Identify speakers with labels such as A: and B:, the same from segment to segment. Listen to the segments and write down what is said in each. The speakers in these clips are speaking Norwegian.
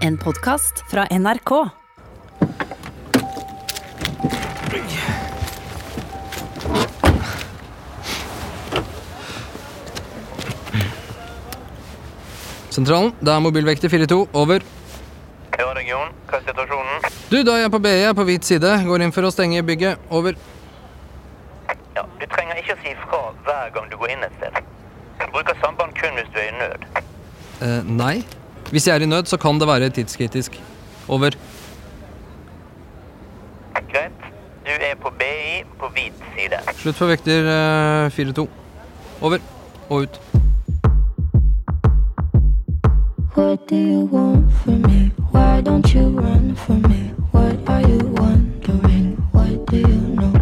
A: En podkast fra NRK.
B: Sentralen, det er mobilvekter 42, over.
C: Ja, region. Hva er situasjonen?
B: Du, da er jeg på BE, jeg er på hvit side. Går inn for å stenge bygget, over.
C: Ja, du trenger ikke å si fra hver gang du går inn et sted. Du bruker samband kun hvis du er i nød.
B: Eh, nei. Hvis jeg er i nød, så kan det være tidskritisk. Over.
C: Greit. Du er på BI på hvit side.
B: Slutt for vekter eh, 42. Over. Og ut.
D: What do you want from me? Why don't you run from me? What are you wondering? What do you know?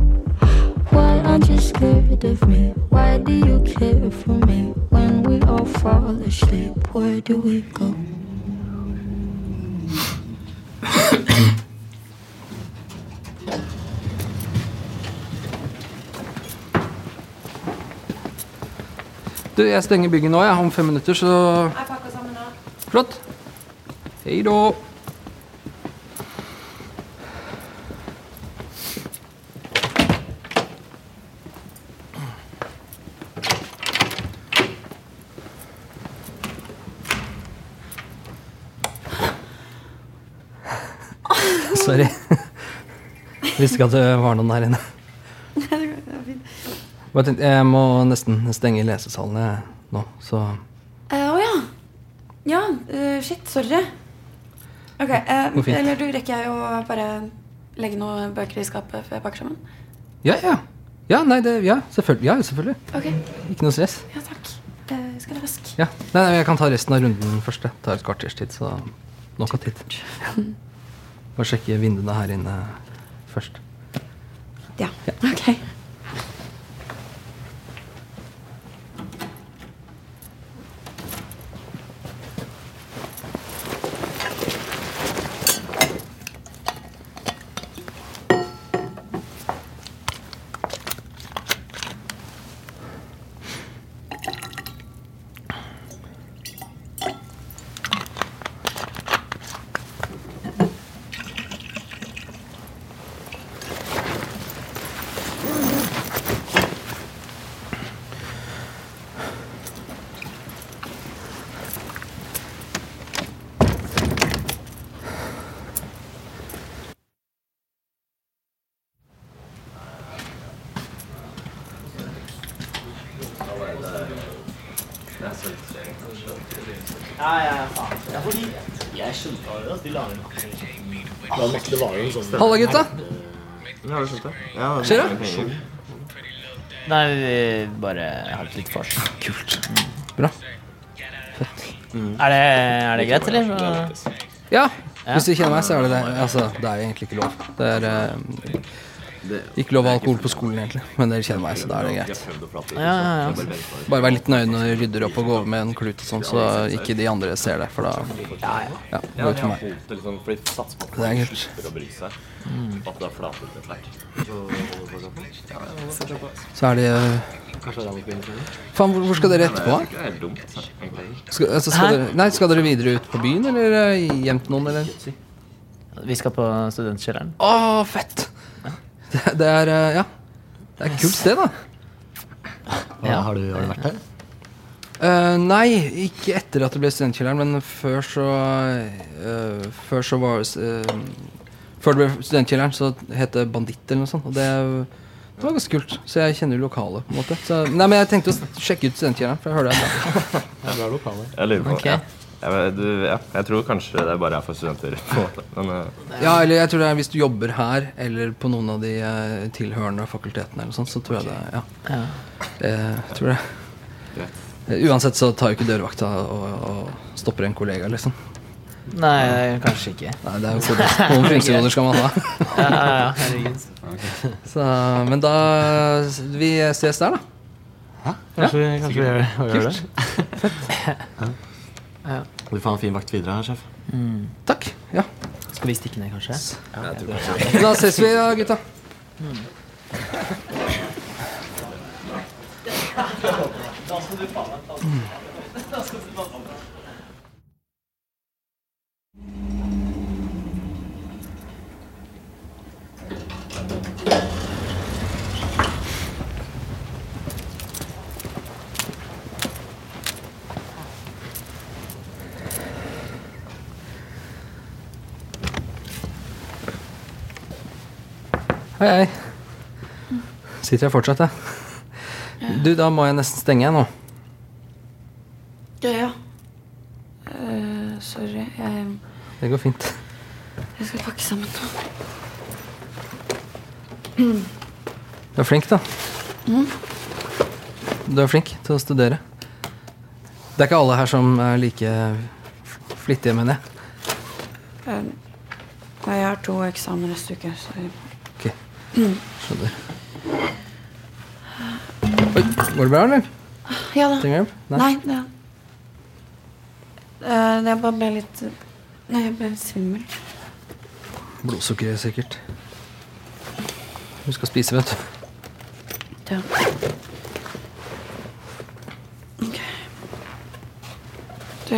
D: Why aren't you scared of me? Why do you care for me? When we all fall asleep, where do we go?
B: Du, jeg stenger bygget nå, jeg. Om fem minutter, så Flott. Hei da. Sorry. Visste ikke at det var noen her inne. Bare tenkte, Jeg må nesten stenge lesesalen jeg, nå, så
E: Eh, Å ja. Ja, eh, shit. Sorry. Ok, eh,
B: Går fint.
E: Eller du rekker jeg å bare legge noen bøker i skapet før jeg pakker sammen?
B: Ja, ja. Ja, nei, det, ja, selvfølgelig. ja, selvfølgelig.
E: Ok,
B: Ikke noe stress.
E: Ja, takk. Eh, Jeg skal være rask.
B: Ja. Nei, nei, jeg kan ta resten av runden først. Det tar et kvarters tid, så nok av tid. Ja. Bare sjekke vinduene her inne først.
E: Ja. Ok.
B: Halla, gutta!
F: Ja, det skjønte jeg. Ja, det
B: Skjer
F: er
B: det?
F: penger.
G: Nei, vi bare har det litt for oss. Kult.
B: Bra.
G: Er det, er det greit, eller? Så-
B: Ja, hvis du kjenner meg, så er det det. Altså, det er egentlig ikke lov. Det er eh, ikke lov å ha alkohol på skolen, egentlig. Men dere kjenner meg, så da er det greit.
G: Ja, ja, ja.
B: Bare vær litt nøye når du rydder opp og går over med en klut og sånn, så ikke de andre ser det, for da Ja, det går ut for meg.
H: holdt det liksom, fordi de satser på at
B: Det er
H: folk
B: kult.
H: slutter å bry seg.
G: Mm.
H: At det er flatet ut etter hvert.
B: Så er det eh, Faen, hvor, hvor skal dere etterpå? da?
H: Det er helt dumt. egentlig.
B: Skal, altså, skal, dere, nei, skal dere videre ut på byen, eller eh, hjem til noen, eller?
G: Vi skal på studentkjelleren.
B: Å, fett! Det, det er eh, Ja. Det er et kult sted, da.
G: Ja.
I: Har, du, vært her?
B: Eh, nei, ikke etter at det ble Studentkjelleren, men før så eh, Før så var eh, Før det ble Studentkjelleren, så het det Banditt eller noe sånt. Og det, det var ganske kult. Så jeg kjenner jo lokalet, på en måte. Så, nei, men jeg tenkte å sjekke ut Studentkjelleren, for jeg hører det. er bra.
H: Jeg lurer på
G: Ok.
H: ja. Jeg, vet- du, ja. jeg tror kanskje det bare er for studenter. på en måte. Men eh,
B: Ja, eller jeg tror det er hvis du jobber her, eller på noen av de eh, tilhørende fakultetene, eller noe sånt, så tror jeg det Ja.
G: Ja.
B: Eh, tror det. Eh, Uansett så tar jo ikke dørvakta og, og stopper en kollega, liksom.
G: Nei, kanskje ikke.
B: Nei, det er jo kodeks. Noen funksjoner skal man ha.
G: Ja, ja, ja, herregud.
B: Så, men da Vi ses der, da.
I: Kanskje, vi- kanskje vi gjør, gjør det?
G: Ja.
I: Du får ha en fin vakt videre her, sjef.
B: Takk. Ja.
G: Skal vi stikke ned, kanskje?
B: Da ses vi, ja, gutta. Hei, hei. Sitter jeg fortsatt, jeg. Du, da må jeg nesten stenge jeg nå.
E: Ja, ja. Eh, sorry. Jeg,
B: Det går fint.
E: jeg skal pakke sammen nå.
B: Du er flink, da. Du er flink til å studere. Det er ikke alle her som er like f- flittige, mener jeg.
E: Eh, nei, jeg har to eksamener neste uke, så
B: Ok, skjønner. Oi, går det bra, eller?
E: Ja da.
B: Trenger du hjelp?
E: Nei, det Eh, Jeg bare ble litt Nei, jeg ble litt svimmel.
B: Blodsukkeret, sikkert. Du skal spise, vet du.
E: Ja. Ok. Du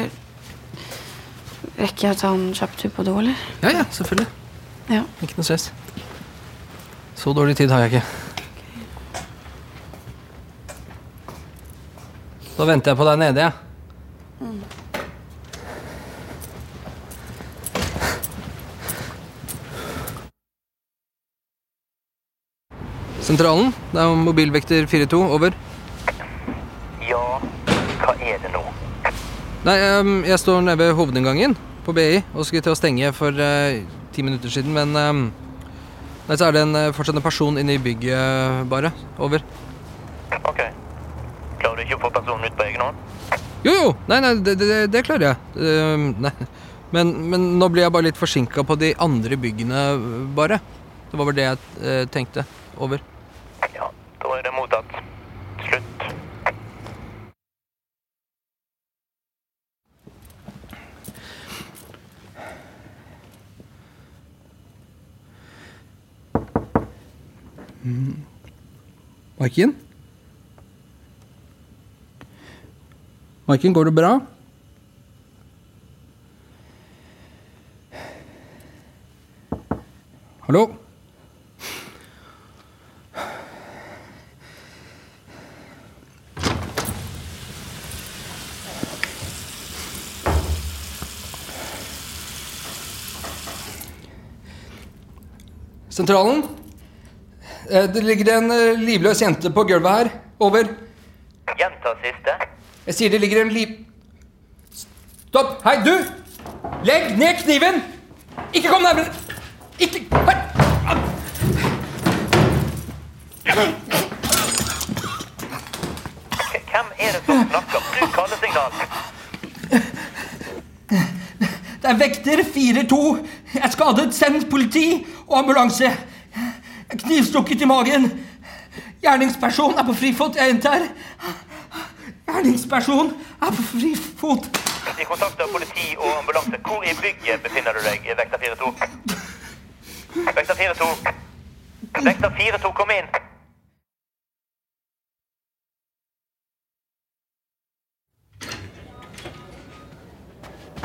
E: Rekker jeg å ta en kjapp tur på do, eller?
B: Ja, ja, selvfølgelig.
E: Ja.
B: Ikke noe stress. Så dårlig tid har jeg ikke. Da venter jeg på deg nede, jeg. Sentralen, det er mobilvekter 42, over.
C: Ja, hva er det nå?
B: Nei, ehm, jeg står nede ved hovedinngangen på BI og skulle til å stenge for eh, ti minutter siden, men ehm, Nei, så er det en, eh, fortsatt en person inne i bygget, bare. Over.
C: Ok. Klarer du ikke å få personen ut på egen hånd?
B: Jo, jo! Nei, nei, det, det, det klarer jeg. Ehm, nei. Men, men nå blir jeg bare litt forsinka på de andre byggene, øh, bare. Det var bare det jeg eh, tenkte. Over.
C: Ja, da er det mottatt. Slutt.
B: Maiken? Maiken, går det bra? Hallo? Sentralen? Eh, Det ligger en eh, livløs jente på gulvet her. Over.
C: Gjenta siste.
B: Jeg sier det ligger en liv... Stopp! Hei, du! Legg ned kniven! Ikke kom nærmere! Ikke Hei!
C: K- Hvem er det som snakker? Bruk kallesignal.
B: Det er vekter 4-2. Jeg er skadet. Send politi og ambulanse. Jeg er Knivstukket i magen. Gjerningsperson er på frifot. Jeg gjentar. Gjerningsperson er på frifot.
C: Vi kontakter politi og ambulanse. Hvor i bygget befinner du deg, vekter 42? Vekter 42. Vekter 42, kom inn.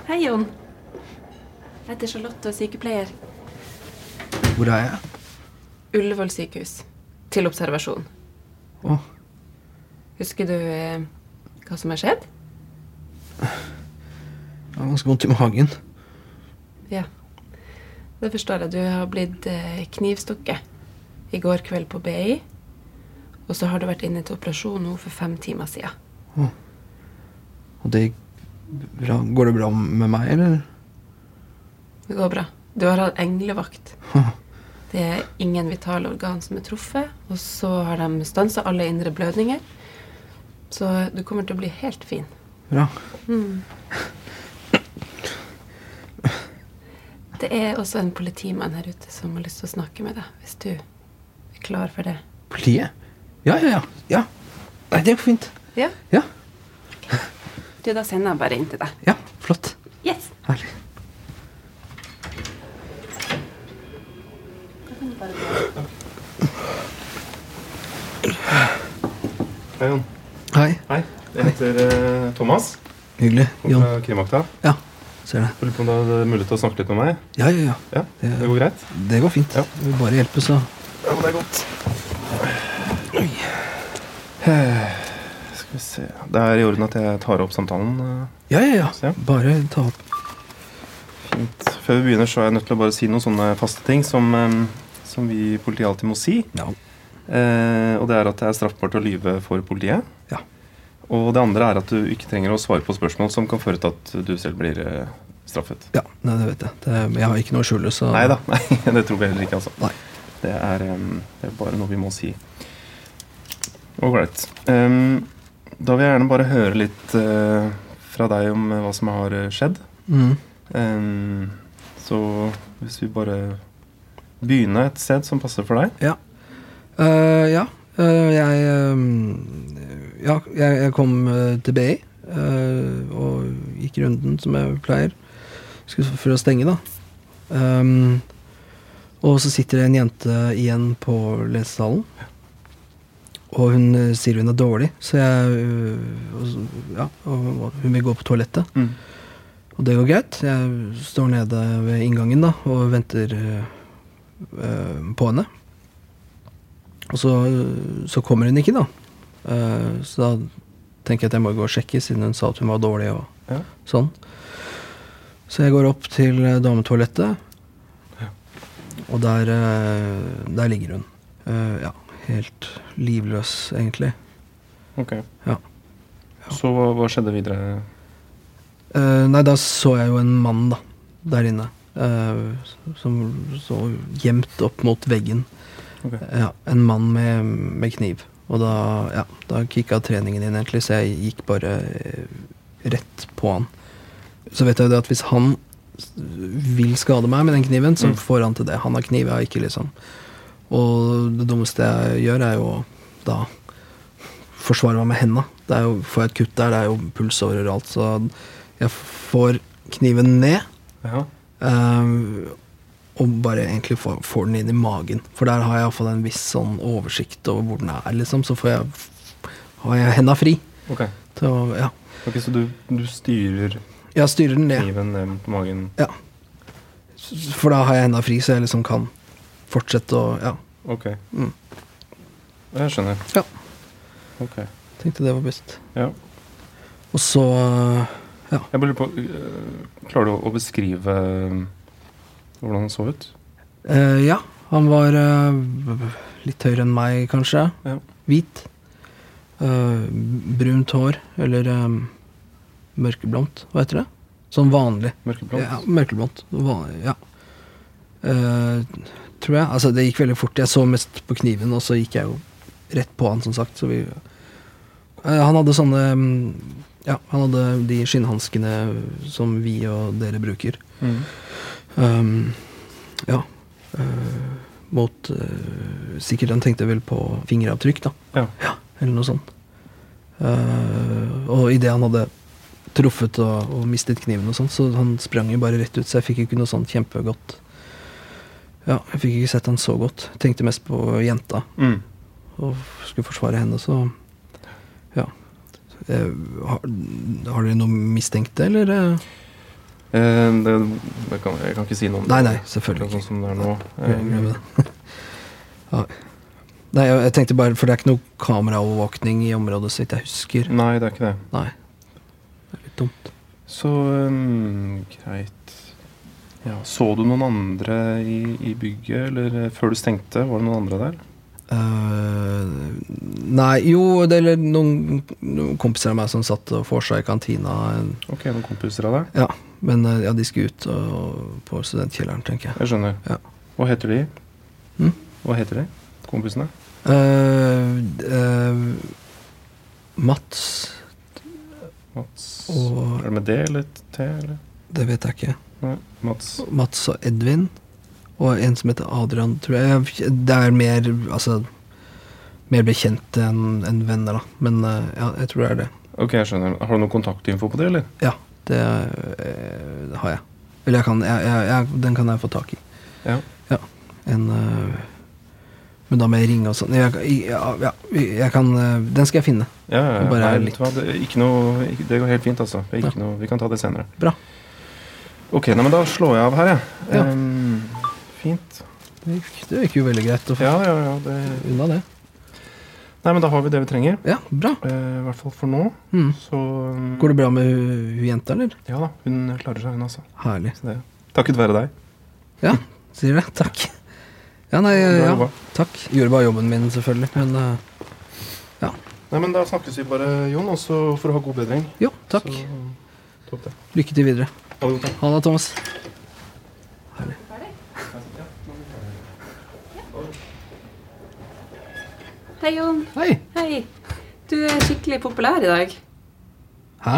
J: Hei, Jon. Jeg heter Charlotte og er sykepleier.
B: Hvor er jeg?
J: Ullevål sykehus. Til observasjon.
B: Å.
J: Husker du eh, hva som har skjedd?
B: Jeg har ganske vondt i magen.
J: Ja. Det forstår jeg. Du har blitt eh, knivstukket i går kveld på BI. Og så har du vært inne til operasjon nå for fem timer siden.
B: Og det gikk bra. Går det bra med meg, eller?
J: Det går bra. Du har hatt englevakt. Det er ingen vitale organ som er truffet, og så har de stansa alle indre blødninger. Så du kommer til å bli helt fin. Mm.
B: Bra.
J: Det er også en politimann her ute som har lyst til å snakke med deg, hvis du er klar for det.
B: Politiet? Ja, ja, ja. ja. Nei, det går fint.
J: Ja?
B: Ja.
J: Du, da sender jeg bare inn til deg.
B: ja, flott.
J: Yes!
B: Herlig.
H: Hei, Jon.
B: Hei.
H: Hei. Jeg heter eh, Thomas.
B: Hyggelig.
H: Kom
B: Jon.
H: fra Krimvakta.
B: Ja, ser det.
H: Lurer på om det er mulig til å snakke litt med meg?
B: Ja, ja,
H: Ja,
B: ja.
H: Det går greit?
B: Det går fint.
H: Ja.
B: Vi bare hjelper, så.
H: Ja, men det er godt. Skal vi se Det er i orden at jeg tar opp samtalen. eh,
B: Ja, ja,
H: Se.
B: ja. Bare ta opp.
H: Fint. Før vi begynner, så er jeg nødt til å bare si noen sånne faste ting som, eh,
K: som vi i politiet alltid må si. Eh, og det er at det er straffbart å lyve for politiet. Og det andre er at du ikke trenger å svare på spørsmål som kan føre til at du selv blir eh, straffet.
B: Ja, nei, det vet jeg. Det, jeg har ikke noe å skjule, så
K: Nei da. Nei, det tror vi heller ikke, altså. Det, er, em, det er bare noe vi må si. Ålreit. Em, da vil jeg gjerne bare høre litt eh, fra deg om eh, hva som har eh, skjedd.
B: Mhm.
K: Em, Ehm, så hvis vi bare begynner et sted som passer for deg.
B: Ja. Eh, ja. eh, jeg eh, Ja, jeg, jeg kom eh, til BI eh, og gikk runden som jeg pleier. Skulle f- for å stenge, da. Ehm, og så sitter det en jente igjen på lesesalen. Og hun eh, sier hun er dårlig, så jeg eh, og, så- Ja, og hun vil gå på toalettet. Og det går greit. Jeg står nede ved inngangen da og venter eh, eh, på henne. Og så, så kommer hun ikke, da. Eh, så da tenker jeg at jeg må gå og sjekke, siden hun sa at hun var dårlig. og
K: Ja.
B: sånn. Så jeg går opp til eh, dametoalettet, og der, eh, der ligger hun. Eh, ja, helt livløs, egentlig.
K: Ok.
B: Ja.
K: Så hva, hva skjedde videre?
B: Eh, nei, da så jeg jo en mann da, der inne. eh, som så gjemt opp mot veggen.
K: Ok.
B: Ja, en mann med, med kniv. Og da, ja, da kicka treningen inn, egentlig, så jeg gikk bare eh, rett på han. Så vet jeg jo det at hvis han s- vil skade meg med den kniven, så
K: Mm.
B: får han til det. Han har kniv, jeg har ikke, liksom. Og det dummeste jeg gjør, er jo da forsvare meg med henda. Det er jo, får jeg et kutt der, det er jo pulsårer og alt, så jeg får kniven ned.
K: Ja.
B: eh, og bare egentlig får, får den inn i magen. For der har jeg iallfall en viss sånn oversikt over hvor den er, liksom. Så får jeg, har jeg henda fri.
K: Ok.
B: Til å, ja.
K: Ok, Så du, du styrer
B: Jeg styrer den ned.
K: kniven ned mot magen?
B: Ja. For da har jeg henda fri, så jeg liksom kan fortsette å Ja.
K: Ok.
B: Mm.
K: Jeg skjønner.
B: Ja.
K: Ok.
B: Tenkte det var best.
K: Ja.
B: Og så
K: Jeg bare lurer på øh, Klarer du å beskrive øh, hvordan han så ut?
B: Eh, ja, han var eh, b- b- litt høyere enn meg, kanskje.
K: Ja.
B: Hvit. Eh, brunt hår, eller eh, mørkeblondt, hva heter det? Sånn vanlig.
K: Mørkeblondt?
B: Ja, mørkeblondt. Vanlig, ja. Eh, tror jeg. Altså, det gikk veldig fort. Jeg så mest på kniven, og så gikk jeg jo rett på han, som sagt. Så vi Eh, Han hadde sånne mm, Ja, han hadde de skinnhanskene som vi og dere bruker.
K: Mhm.
B: Um, ja. eh, mot eh, Sikkert han tenkte vel på fingeravtrykk, da.
K: Ja.
B: eller noe sånt. Eh, og idet han hadde truffet og, og mistet kniven og sånn, så han sprang jo bare rett ut, så jeg fikk ikke noe sånt kjempegodt Ja, jeg fikk ikke sett han så godt. Tenkte mest på jenta
K: Mm.
B: og skulle forsvare henne, så Ja. Eh, har, har dere noe mistenkte, eller? eh?
K: Eh, det, det kan, jeg kan ikke si noe om
B: Nei,
K: det.
B: nei, selvfølgelig
K: Sånn som det er nå.
B: Glem- glem det. ja. Nei, jeg, jeg tenkte bare For det er ikke noe kameraovervåkning i området, så vidt jeg husker.
K: Nei, det er ikke det.
B: Nei. Det er litt dumt.
K: Så øhm, greit. Ja, så du noen andre i, i bygget, eller eh, før du stengte? Var det noen andre der?
B: Eh, nei, jo, det er noen, noen kompiser av meg som satt og vorsa i kantina. En,
K: Ok, noen kompiser av deg?
B: ja, men eh, ja, de skulle ut og, på studentkjelleren, tenker jeg.
K: Jeg skjønner. Hva heter de?
B: Mm.
K: Hva heter de? Kompisene?
B: Eh, eh, Mats
K: Mats
B: Og-
K: Er det med D eller T? Eller?
B: Det vet jeg ikke.
K: Nei, Mats.
B: Mats og Edvin. Og en som heter Adrian, tror jeg. Jeg- Det er mer altså Mer bekjente enn enn venner, da. Men eh, ja, jeg tror det er det.
K: Ok, jeg skjønner. Har du noen kontaktinfo på det, eller?
B: Ja, det eh, har jeg. Eller jeg kan jeg, jeg, jeg, Den kan jeg få tak i.
K: Ja.
B: Ja. En eh, Men da må jeg ringe og sånn. Jeg, jeg, ja, jeg kan eh, Den skal jeg finne.
K: Ja, ja, ja.
B: Og bare
K: Nei, vet
B: litt-
K: du hva, det, ikke noe, ikke, det går helt fint, altså. Det er Ikke noe, vi kan ta det senere.
B: Bra.
K: Ok, nei, men da slår jeg av her, jeg.
B: Ja.
K: Ehm, fint.
B: Det gikk- det gikk jo veldig greit å få
K: Ja, ja, ja. Det...
B: unna det.
K: Nei, men da har vi det vi trenger. eh,
B: Ja, bra.
K: I hvert fall for nå.
B: Mm.
K: Så ehm,
B: Går det bra med hun, hun jenta, eller?
K: Ja da, hun klarer seg, hun, altså.
B: Herlig.
K: Så det- Takket være deg.
B: Ja, sier det. Takk. Ja, nei,
K: Bra
B: ja.
K: jobba.
B: Takk. Gjorde bare jobben min, selvfølgelig. Men eh,
K: Nei, men Da snakkes vi bare, Jon, også for å ha god bedring.
B: Jo, takk. lykke til videre.
K: Ha det godt, da.
B: Ha det, Thomas.
J: Hei, Jon.
B: Hei.
J: Du er skikkelig populær i dag.
B: Hæ?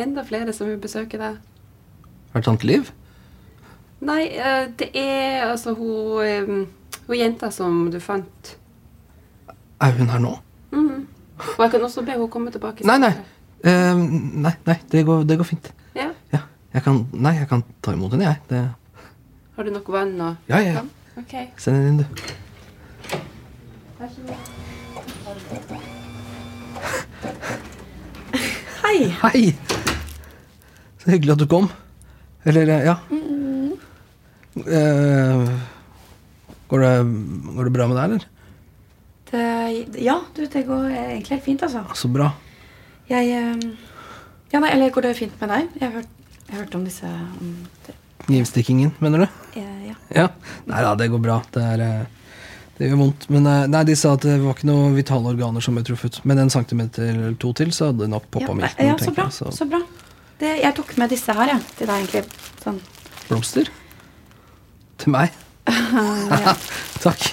J: Enda flere som vil besøke deg.
B: Er det tante Liv?
J: Nei, eh, det er altså hun, eh, hun jenta som du fant.
B: Er hun her nå?
J: Mhm. Og jeg kan også be henne komme tilbake.
B: Nei, nei.
J: senere.
B: Eh, nei, nei, det går, det går fint.
J: Ja.
B: Jeg kan, nei, jeg kan ta imot henne, jeg. Det,
J: Har du noe vann og
B: Ja, ja, ja.
J: Ok.
B: send henne inn, du.
J: Vær så god.
B: Hei. Hei. Så hyggelig at du kom. Eller, eh, ja. Eh, går, det, går det bra med deg, eller?
E: Det, ja, du, det går egentlig helt fint, altså.
B: Så bra.
E: Jeg eh, Ja, nei, eller går det fint med deg? Jeg har hørt, jeg har hørt om disse om,
B: Knivstikkingen, mener du?
E: eh, Ja.
B: Ja. Nei da, det går bra. Det, er, eh, det gjør vondt. Men eh, nei, de sa at det var ikke noen vitale organer som ble truffet. Men en centimeter eller to til, så hadde det nok poppa
E: ja,
B: milten.
E: nei, ja så
B: tenker
E: bra.
B: jeg,
E: Så, bra. Det, jeg tok med disse her, jeg. Til deg, egentlig. Sånn.
B: Blomster? Til meg?
E: ja.
B: Takk.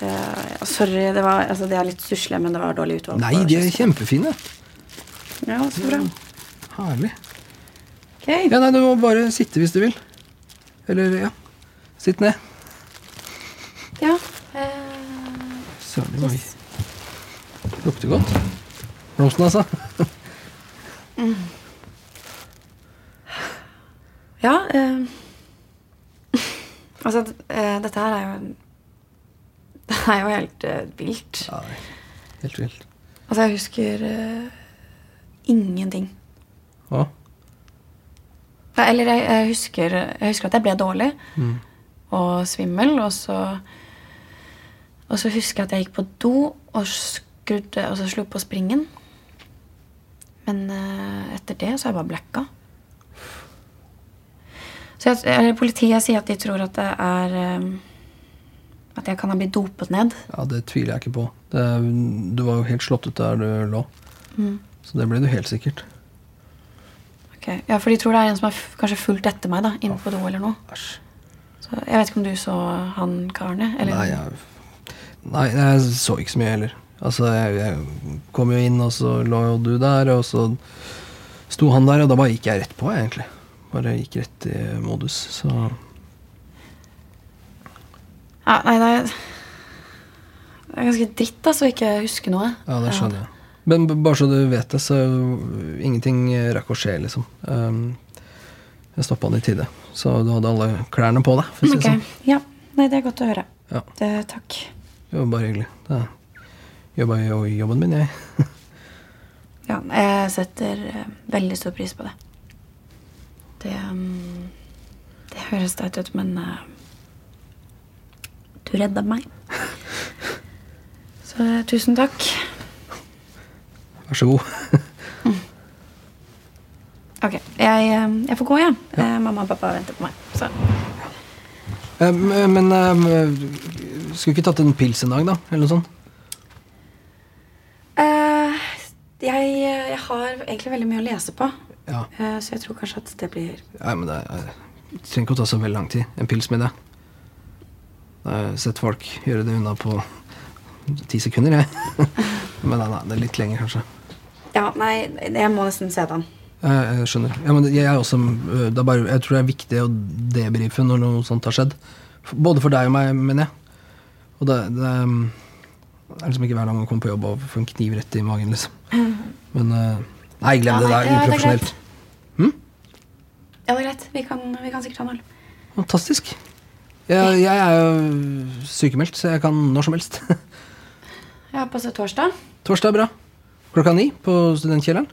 E: Det, ja, sorry, det var altså, Det er litt stusslig, men det var dårlig utvalg.
B: Nei, de er kjempefine.
E: Ja, så bra.
B: Herlig. Ja, nei, du må bare sitte hvis du vil. Eller, ja. Sitt ned.
E: Ja. eh,
B: Søren din, oi. Lukter godt. Blomsten, altså.
E: mm. Ja eh, Altså, d- eh, dette her er jo Det er jo helt eh, vilt.
B: Helt vilt.
E: Altså, jeg husker eh, ingenting.
B: Hva?
E: Ja, Eller jeg, jeg, husker, jeg husker at jeg ble dårlig
B: Mm.
E: og svimmel, og så Og så husker jeg at jeg gikk på do og skrudde Og så slo på springen. Men eh, etter det så har jeg bare blacka. Så jeg, eller politiet sier at de tror at det er eh, At jeg kan ha blitt dopet ned.
B: Ja, det tviler jeg ikke på. Det, er- du var jo helt slått ut der du lå.
E: Mm.
B: Så det ble du helt sikkert.
E: Ok, Ja, for de tror det er en som har f- kanskje fulgt etter meg da, inne på do eller noe. Så jeg vet ikke om du så han karen, jeg, eller
B: Nei, jeg, nei, jeg så ikke så mye heller. Altså, jeg, jeg kom jo inn, og så lå jo du der, og så sto han der, og da bare gikk jeg rett på, jeg, egentlig. Bare gikk rett i modus, så
E: Ja, nei, det er, det er ganske dritt altså, å ikke huske noe.
B: Ja, det skjønner jeg. Men b- bare så du vet det, så øh, ingenting øh, rakk å skje, liksom. Ehm, jeg stoppa han i tide, så du hadde alle klærne på deg, for å si det
E: Ok,
B: sånn.
E: Ja, nei, det er godt å høre.
B: Ja.
E: Det, takk.
B: Det var bare hyggelig. Da gjør bare jo- jobben min, jeg.
E: Ja, jeg setter eh, veldig stor pris på det. Det, mm, det høres teit ut, men eh, du redda meg. Så eh, tusen takk.
B: Vær så god.
E: Ok, jeg, eh, jeg får gå, jeg. Eh, Mamma og pappa venter på meg. Så.
B: Ehm, men ehm, skulle ikke tatt en pils en dag, da? Eller noe sånt?
E: Eh, jeg, jeg har egentlig veldig mye å lese på,
B: Ja.
E: eh, så jeg tror kanskje at det blir
B: Nei, men det er, det trenger ikke å ta så veldig lang tid. En pils med det. Jeg har sett folk gjøre det unna på ti sekunder, jeg. men nei, nei, det er litt lenger, kanskje.
E: Ja, nei, jeg må nesten se den.
B: Jeg, jeg skjønner. Ja, men jeg, er også, øh, det er bare, jeg tror det er viktig å debrife når noe sånt har skjedd. F- Både for deg og meg, mener jeg. Og det, det er mm, det er liksom ikke hver dag man kommer på jobb og får en kniv rett i magen, liksom. Men øh, Nei, glem det.
E: Ja,
B: Det
E: nei,
B: er
E: ja, det er
B: uprofesjonelt.
E: Ja, det er greit. Vi kan, vi kan sikkert ha en øl.
B: Fantastisk. Jeg, jeg er jo sykemeldt, så jeg kan når som helst.
E: Ja, passe torsdag.
B: Torsdag er bra. Klokka ni på studentkjelleren.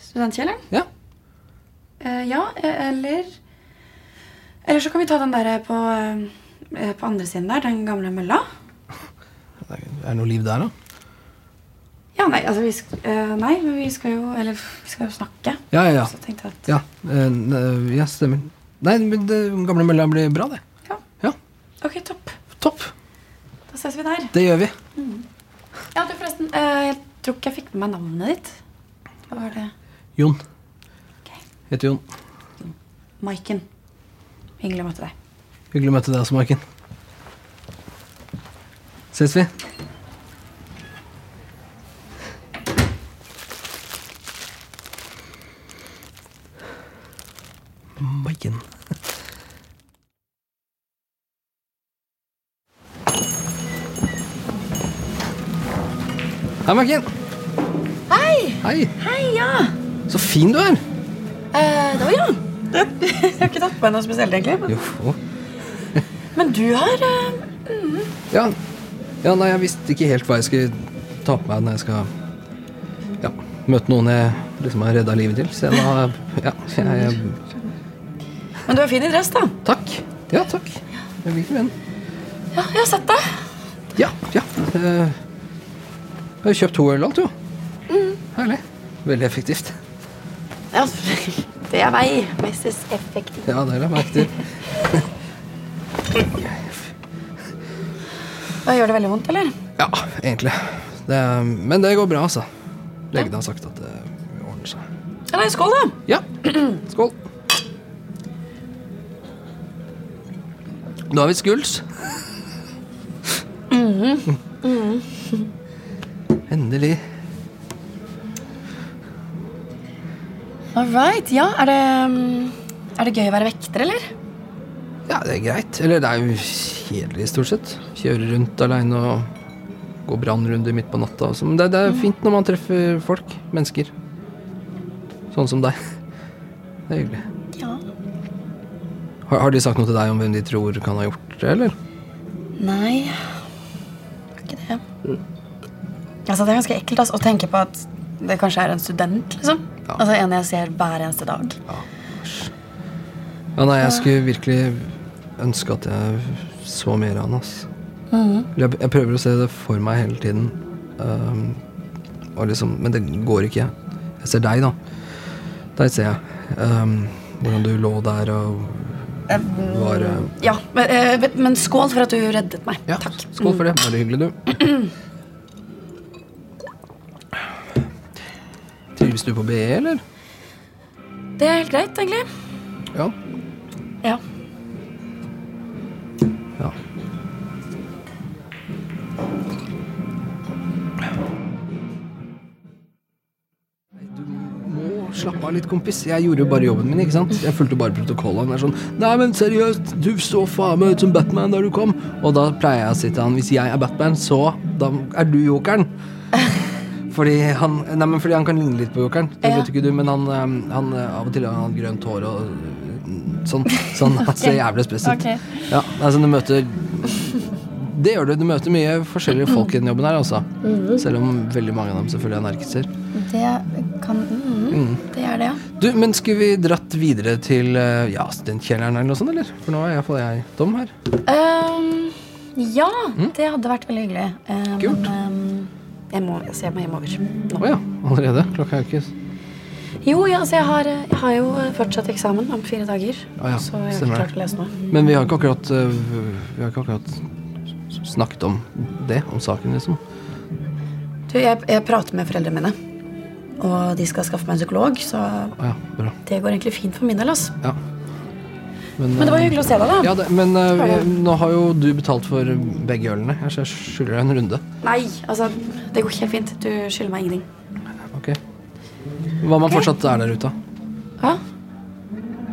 E: Studentkjelleren.
B: Ja.
E: Eh, ja, eh, eller Eller så kan vi ta den der på, eh, på andre siden der, den gamle mølla.
B: Er det noe liv der, da?
E: Ja, nei, altså vi skal, eh, Nei, men vi skal jo Eller vi skal jo snakke.
B: Ja, ja, ja.
E: Så tenkte jeg at
B: Ja, eh, n- eh, ja stemmer. Nei, men det gamle mølla blir bra, det. Ja.
L: Ok, topp.
B: Topp.
L: Da ses vi der.
B: Det gjør vi.
L: Mm. Ja, du forresten, eh, jeg tror ikke jeg fikk med meg navnet ditt. Hva var det?
B: Jon. Heter Jon.
L: Maiken. Hyggelig å møte deg.
B: Hyggelig å møte deg også, Marken. Ses vi. Maiken. Hei, Marken.
E: Hei!
B: Hei.
E: ja!
B: Så fin du er.
E: Eh, det var Jan. Jeg har ikke tatt på meg noe spesielt, egentlig.
B: Jo.
E: Men, men du har eh, mm,
B: Ja. ja, nei, jeg visste ikke helt hva jeg skulle ta på meg når jeg skal ja, møte noen jeg liksom har redda livet til. Så jeg da Ja, jeg,
E: Men du er fin i dress, da.
B: Takk. ja takk. Jeg liker den.
E: Ja, jeg har sett deg.
B: Ja, ja. eh, Jeg har kjøpt to øl og alt, jo. Herlig. Veldig effektivt.
E: Ja, det er vei. Messes effektiv.
B: Ja, det la jeg merke til.
E: Da gjør det veldig vondt, eller?
B: Ja, egentlig. Det, men det går bra, altså. Legene har sagt at det ordner seg.
E: Ja, nei, skål, da.
B: Ja. Skål. Da har vi skuls.
E: Mhm. Mhm.
B: Endelig.
E: All right. Ja, er det, mm, er det gøy å være vekter, eller?
B: Ja, det er greit. Eller det er jo kjedelig, stort sett. Kjøre rundt aleine og gå brannrunder midt på natta. og sånn. Men det, det er fint når man treffer folk. Mennesker. Sånn som deg. Det er hyggelig.
E: Ja.
B: Har, har de sagt noe til deg om hvem de tror kan ha gjort det, eller?
E: Nei, det er ikke det. Altså, det er ganske ekkelt altså, å tenke på at det kanskje er en student. liksom. Altså En jeg ser hver eneste dag.
B: Ja, nei, jeg skulle virkelig ønske at jeg så mer av han, ass.
E: Mhm.
B: Eller Jeg, jeg prøver å se det for meg hele tiden. Ehm, og liksom, men det går ikke. Jeg ser deg, da. Deg ser jeg. Ehm, hvordan du lå der og
E: Eh,
B: var eh,
E: Ja, men, eh, vet- men skål for at du reddet meg. Takk. Mm.
B: Skål for det. Bare hyggelig, du. Trives du på BE, eller?
E: Det er helt greit, egentlig.
B: Ja.
E: Ja.
B: Ja. Må slappe av litt, kompis. Jeg gjorde jo bare jobben min. ikke sant? Jeg fulgte bare protokollen. Det er sånn Nei, men seriøst, du så faen meg ut som Batman da du kom. Og da pleier jeg å si til han hvis jeg er Batman, så da er du jokeren. Fordi han, nei, men fordi han kan ligne litt på jokeren. Det
E: Ja.
B: vet ikke du, men han, eh, han eh, av og til har han grønt hår og eh, sånn. Sånn han ser jævlig spes ut.
E: Ok.
B: Ja, altså du møter Det gjør du. Du møter mye forskjellige folk i den jobben her, altså.
E: Mhm.
B: Selv om veldig mange av dem selvfølgelig er narkiser.
E: Det kan
B: Mm.
E: Det er det, ja.
B: Du, men skulle vi dratt videre til eh, ja, studentkjelleren eller noe sånt, eller? For nå er iallfall jeg tom her.
E: Ehm, ja, det hadde vært veldig hyggelig. Eh,
B: Mm. Kult.
E: Men ehm, jeg, må, altså, jeg må hjemover. Nå.
B: Å ja, allerede? Klokka er jo ikke
E: Jo, ja, altså, jeg, har, eh, jeg har jo eh, fortsatt eksamen om fire dager.
B: Å Ah, ja,
E: så jeg
B: stemmer
E: har ikke
B: det.
E: klart å lese noe.
B: Men vi har ikke akkurat eh, Vi har ikke akkurat snakket om det, om saken, liksom.
E: Du, jeg, jeg prater med foreldrene mine, og de skal skaffe meg en psykolog, så
B: Å ja, bra.
E: det går egentlig fint for min del. ass.
B: Ja. eh,
E: Men det var hyggelig å se deg, da.
B: Ja, det, men eh,
E: Var det-
B: nå har jo du betalt for begge ølene. Jeg skylder deg en runde.
E: Nei, altså, det går helt fint. Du skylder meg ingenting.
B: Ok. Hva om han fortsatt er der ute?
E: Ja?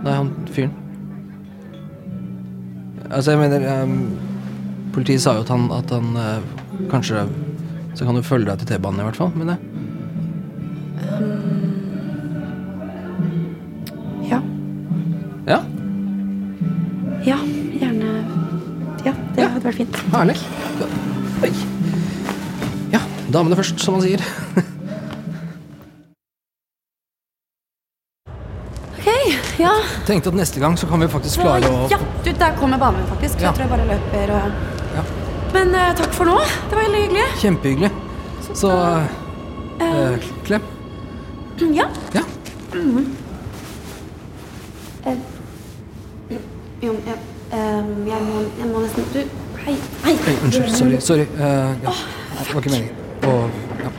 B: Nei, han fyren. Altså, jeg mener ehm, Politiet sa jo at han, at han eh, kanskje Så kan du følge deg til T-banen, i hvert fall. Men det. Ja?
E: Ja, gjerne. Ja, det hadde vært fint.
B: Herlig. Oi. Ja, damene først, som man sier.
E: Ok, ja.
B: Tenkte at neste gang så kan vi faktisk
E: Så,
B: klare å
E: ja, du, der kommer banen min, faktisk.
B: Ja.
E: Jeg tror jeg bare løper og
B: Ja.
E: Men eh, takk for nå. Det var veldig hyggelig.
B: Kjempehyggelig. Så eh, klem.
E: Mm, Ja.
B: Ja.
E: Eh, Jo, ja. eh, men jeg må, jeg må nesten Du, hei, hei.
B: Oi, unnskyld. Sorry. sorry. Eh, ja. Det var ikke meningen. Og ja.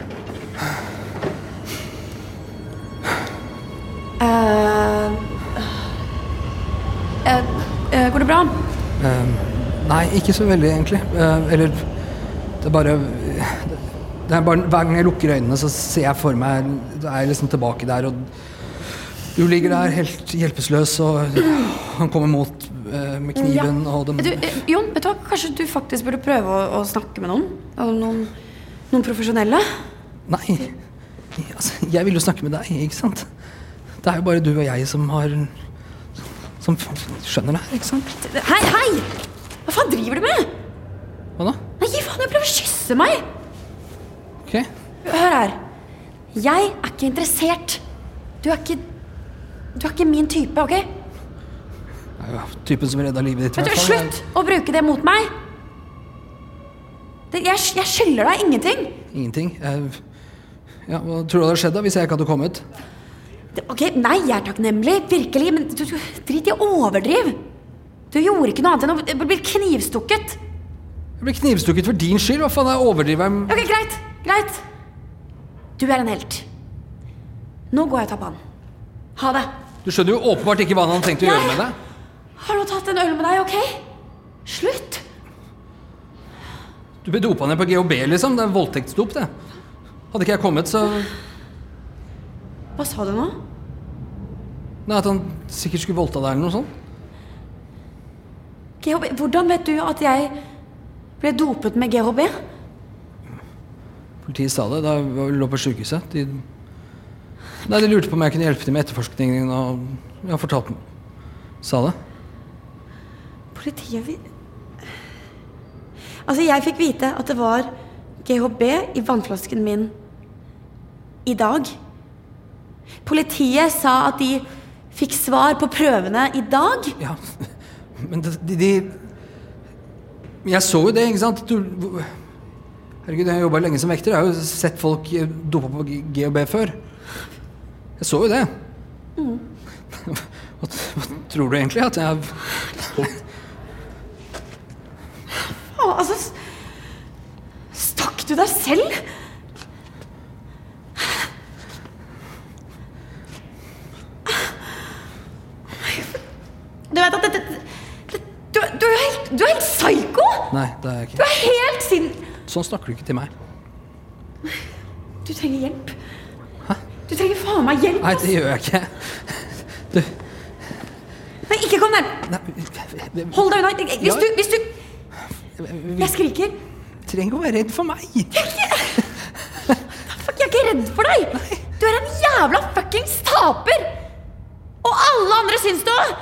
E: Eh, eh, eh, går det bra?
B: Eh, Nei, ikke så veldig, egentlig. Eh, eller Det er bare det er bare, Hver gang jeg lukker øynene, så ser jeg for meg Da er jeg liksom tilbake der, og du ligger der helt hjelpeløs, og han kommer mot eh, med kniven,
E: Ja.
B: og den
E: Du, eh, Jon, vet du hva? kanskje du faktisk burde prøve å, å snakke med noen? Altså, noen? Noen profesjonelle?
B: Nei. Altså, jeg vil jo snakke med deg, ikke sant? Det er jo bare du og jeg som har Som skjønner det her, ikke sant?
E: Hei, hei! Hva faen driver du med?
B: Hva da?
E: Nei, gi faen, jeg prøver å kysse meg!
B: Ok.
E: Hør her. Jeg er ikke interessert. Du er ikke Du er ikke min type, OK?
B: Det er jo typen som redda livet ditt. i
E: Vet du,
B: hvert fall.
E: Slutt å bruke det mot meg! Det, jeg, jeg skylder deg ingenting.
B: Ingenting. Jeg, ja, hva tror du hadde skjedd da hvis jeg ikke hadde kommet?
E: Det- Ok, Nei, jeg er takknemlig, virkelig, men du, du, drit i å overdrive. Du gjorde ikke noe annet enn å b- bli knivstukket.
B: Jeg ble knivstukket for din skyld. Hva faen er overdriveren?
E: Ok, Greit, greit. Du er en helt. Nå går jeg og tar på han. Ha det.
B: Du skjønner jo åpenbart ikke hva han hadde tenkt å gjøre med deg.
E: Har nå tatt en øl med deg, OK? Slutt.
B: Du ble dopa ned på GHB, liksom. Det er voldtektsdop, det. Hadde ikke jeg kommet, så
E: Hva sa du nå?
B: Nei, At han sikkert skulle voldta deg eller noe sånt.
E: GHB, hvordan vet du at jeg ble dopet med GHB?
B: Politiet sa det da jeg lå på sjukehuset. De Nei, de lurte på om jeg kunne hjelpe til med etterforskningen, og jeg fortalte dem Sa det.
E: Politiet vi... Altså, jeg fikk vite at det var GHB i vannflasken min i dag. Politiet sa at de fikk svar på prøvene i dag.
B: Ja. Men det- de, de Men Jeg så jo det, ikke sant? Du, hvor- herregud, jeg har jobba lenge som vekter. Jeg har jo sett folk eh, dopa på G- GHB før. Jeg så jo det.
E: Mm.
B: Hva, t- hva tror du egentlig? At jeg
E: Å, altså s- Stakk du deg selv? Du vet at dette det- du, du, er helt, du er helt psyko!
B: Nei, det er jeg
E: Du
B: ikke.
E: er helt sin...
B: Sånn snakker du ikke til meg.
E: Du trenger hjelp. Du trenger faen meg hjelp!
B: Nei, det gjør jeg ikke.
E: Nei, ikke kom nær! Hold deg unna! Hvis du, hvis du Jeg skriker.
B: Du trenger ikke å være redd for meg.
E: Fuck, jeg er ikke redd for deg! Du er en jævla fuckings taper! Og alle andre syns det òg!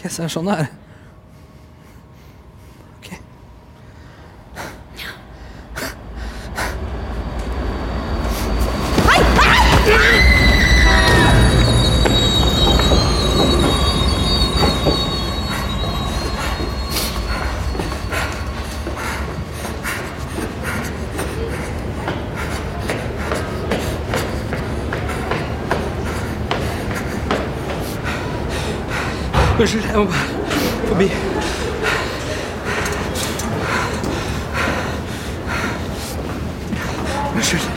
B: Ok, så er det sånn det er. Unnskyld, jeg må bare forbi. Unnskyld.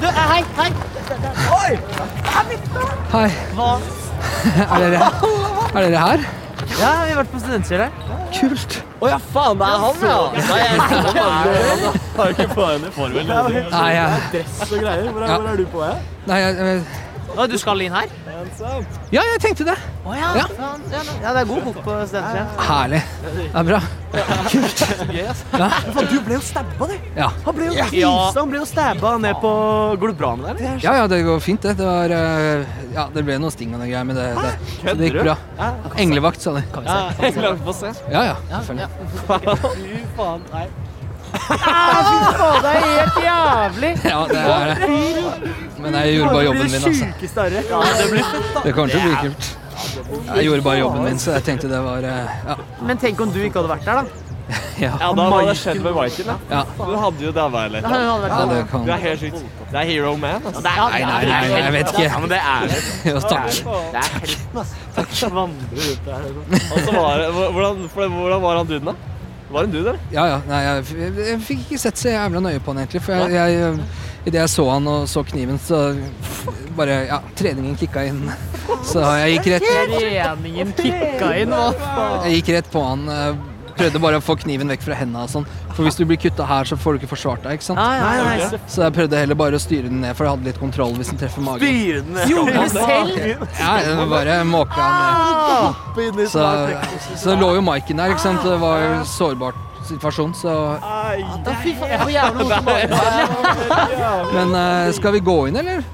M: Du, hei, hei! Oi!
B: Hei.
G: Hva?
B: Er dere, er dere her?
G: Ja, vi har vært på studentkjelleren.
B: Kult.
G: Å ja, faen, det er han, ja! Nei, jeg er ikke på han.
N: Har du ikke på henne formen?
G: Nei, jeg-
N: Dress og greier. Hvor er,
B: Ja.
N: hvor er du på? Ja?
B: Nei, jeg, jeg,
G: Å, du skal inn her?
B: Ja, jeg tenkte det.
G: Å ja.
B: Ja.
G: faen. Ja, ja, det er god bok på studentskjerm.
B: Herlig. Det er bra.
G: Kult. Gøy, ass.
B: Ja.
G: Faen, du ble jo stabba, du.
B: Ja.
G: Han ble jo
B: Ja.
G: knivsta, han ble jo stabba ned på Går det bra med deg, eller?
B: Ja, ja, det går fint, det. Det, var, eh, ja, det ble noe sting og noe greier, men det, det, det gikk bra.
G: Kødder du?
B: Englevakt, sa de.
G: Ja, jeg klarer ikke å se.
B: Ja, ja, selvfølgelig.
G: Ja. Fy faen, nei. Ah, fy faen, det er helt jævlig!
B: Ja, det er det. Men jeg gjorde bare jobben min, altså.
G: Ja, det blir fett, da.
B: Det kommer til å bli kult. Jeg gjorde bare jobben min, så jeg tenkte det var eh, ja.
G: Men tenk om du ikke hadde vært der, da.
B: Ja.
G: Ja, da hadde det skjedd med Michael.
B: Ja.
G: Du hadde jo dabba litt.
B: da. Ja, det kan-
G: Du er helt sykt. Det er hero man. Altså.
B: Nei, nei, nei, nei, jeg vet ikke.
G: Ja, men det er det.
B: Jo, takk.
G: Det er helten, altså. Takk. Vandrer ut der. Og så var det hvordan, for- hvordan var han duden, da? Var han duden, eller?
B: Ja, ja. Nei, jeg, f- jeg fikk ikke sett så jævla nøye på han, egentlig. For jeg, jeg, idet jeg så han og så kniven, så bare Ja, treningen kicka inn. Så jeg gikk rett
G: Treningen kicka inn, hva faen?
B: Jeg gikk rett på han. eh, Prøvde bare å få kniven vekk fra hendene og sånn. For hvis du blir kutta her, så får du ikke forsvart deg, ikke sant?
G: Nei, nei, nei.
B: Så jeg prøvde heller bare å styre den ned, for jeg hadde litt kontroll hvis den treffer magen.
G: Styre den ned? Gjorde du selv?
B: Ja, jeg bare måka han ned.
G: Hoppe inn i
B: Så,
G: smart plexus.
B: så lå jo Maiken der, ikke sant. Det var jo en sårbar situasjon, så
G: Ai,
O: Fy faen, jeg får jævla vondt i magen.
B: Men eh, skal vi gå inn, eller?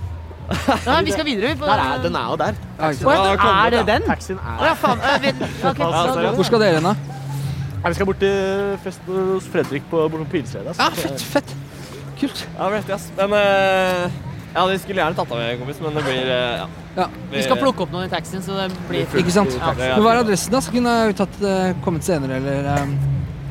O: Nei, vi skal videre. vi får-
G: Der er, den er jo der.
B: Ja, ikke sant?
G: Å, ja, den
O: Er
G: er
O: det
G: den? Taxien
O: Å
G: er
O: ja, faen. øh, vent, ok, så-
B: Hvor skal dere hen, da?
G: Nei, Vi skal bort til festen hos Fredrik på, altså. bortom Pilsredet. ass.
B: Ja, fett, fett. Kult.
G: Ja, det blir heftig, ass. Men eh, Ja, vi skulle gjerne tatt av med en kompis, men det blir eh, ja.
B: Ja.
G: Det-
O: Vi skal plukke opp noen i taxien, så det blir
B: Ikke sant.
O: Ja.
B: Men hva er adressen, da? Så kunne jeg tatt, eh, kommet senere, eller eh,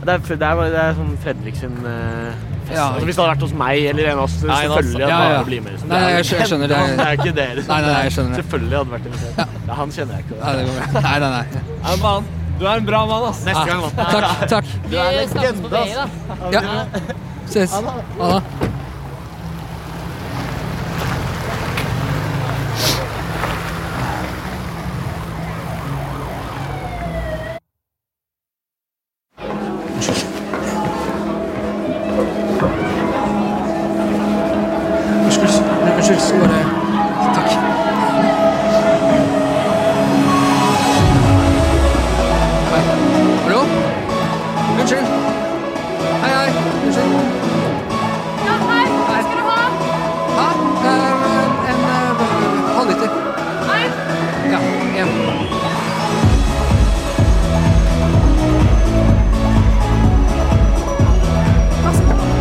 G: Det er, det er, det er sånn Fredrik sin eh, fest.
B: Ja.
G: Altså, hvis det hadde vært hos meg eller en av oss,
B: Nei, da-
G: selvfølgelig hadde
B: ja, ja.
G: han blitt med. liksom.
B: Nei, jeg skj- jeg skjønner det.
G: Det er ikke dere.
B: Nei, nei, nei, jeg skjønner det.
G: Selvfølgelig hadde vært invitert. Ja, han kjenner jeg ikke.
B: Nei, det går bra. Nei, nei, nei.
G: Ja, faen. Du er en bra mann, ass. Neste gang, mann.
B: Takk. takk.
G: Du er
O: Vi snakkes på
G: legende, altså.
O: VI, da.
G: ass.
B: Ja. Ses. Ha det. Unnskyld. Unnskyld. skal Bare Takk. Hei. Hallo? Unnskyld. Hei, hei. Unnskyld.
O: Ja, hei, hva skal du ha?
B: Hæ? Eh, En eh, halvliter.
O: Hei.
B: Ja, en.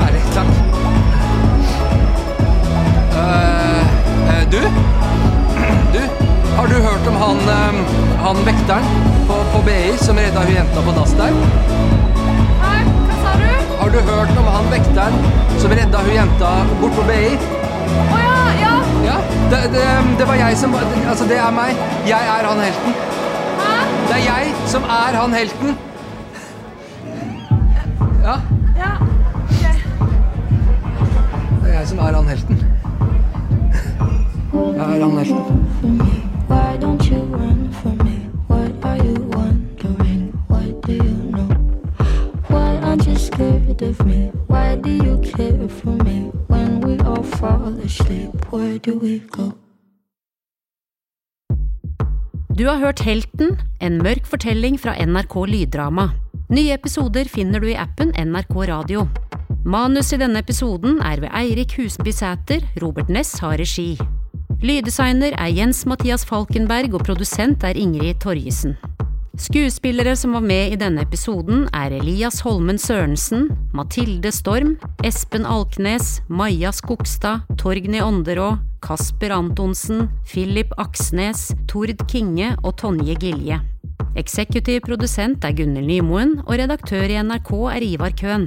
B: Herlig. Takk. Eh, eh, Du? Du? Har du hørt om han, eh, han vekteren på, på BI som redda hun jenta på dass der?
O: Hei, hva sa du?
B: Har du hørt om han vekteren som redda hun jenta bort på BI?
O: Å ja, ja.
B: Ja, det, det, det var jeg som Altså, det er meg. Jeg er han helten. Det er jeg som er han helten. Ja.
O: Ja.
B: Det er jeg som er han helten. Jeg er han helten.
D: Why don't you run from me? What are you wondering? What do you know? Why aren't you scared of me? Why do you care for me? When we all fall asleep, where do we go?
E: Du har hørt Helten, en mørk fortelling fra NRK Lyddrama. Nye episoder finner du i appen NRK Radio. Manus i denne episoden er ved Eirik Husby Sæter, Robert Ness har regi. Lyddesigner er Jens Mathias Falkenberg, og produsent er Ingrid Torjesen. Skuespillere som var med i denne episoden, er Elias Holmen Sørensen, Mathilde Storm, Espen Alknes, Maja Skogstad, Torgny Ånderå, Kasper Antonsen, Philip Aksnes, Tord Kinge og Tonje Gilje. Eksekutiv produsent er Gunhild Nymoen, og redaktør i NRK er Ivar Køhn.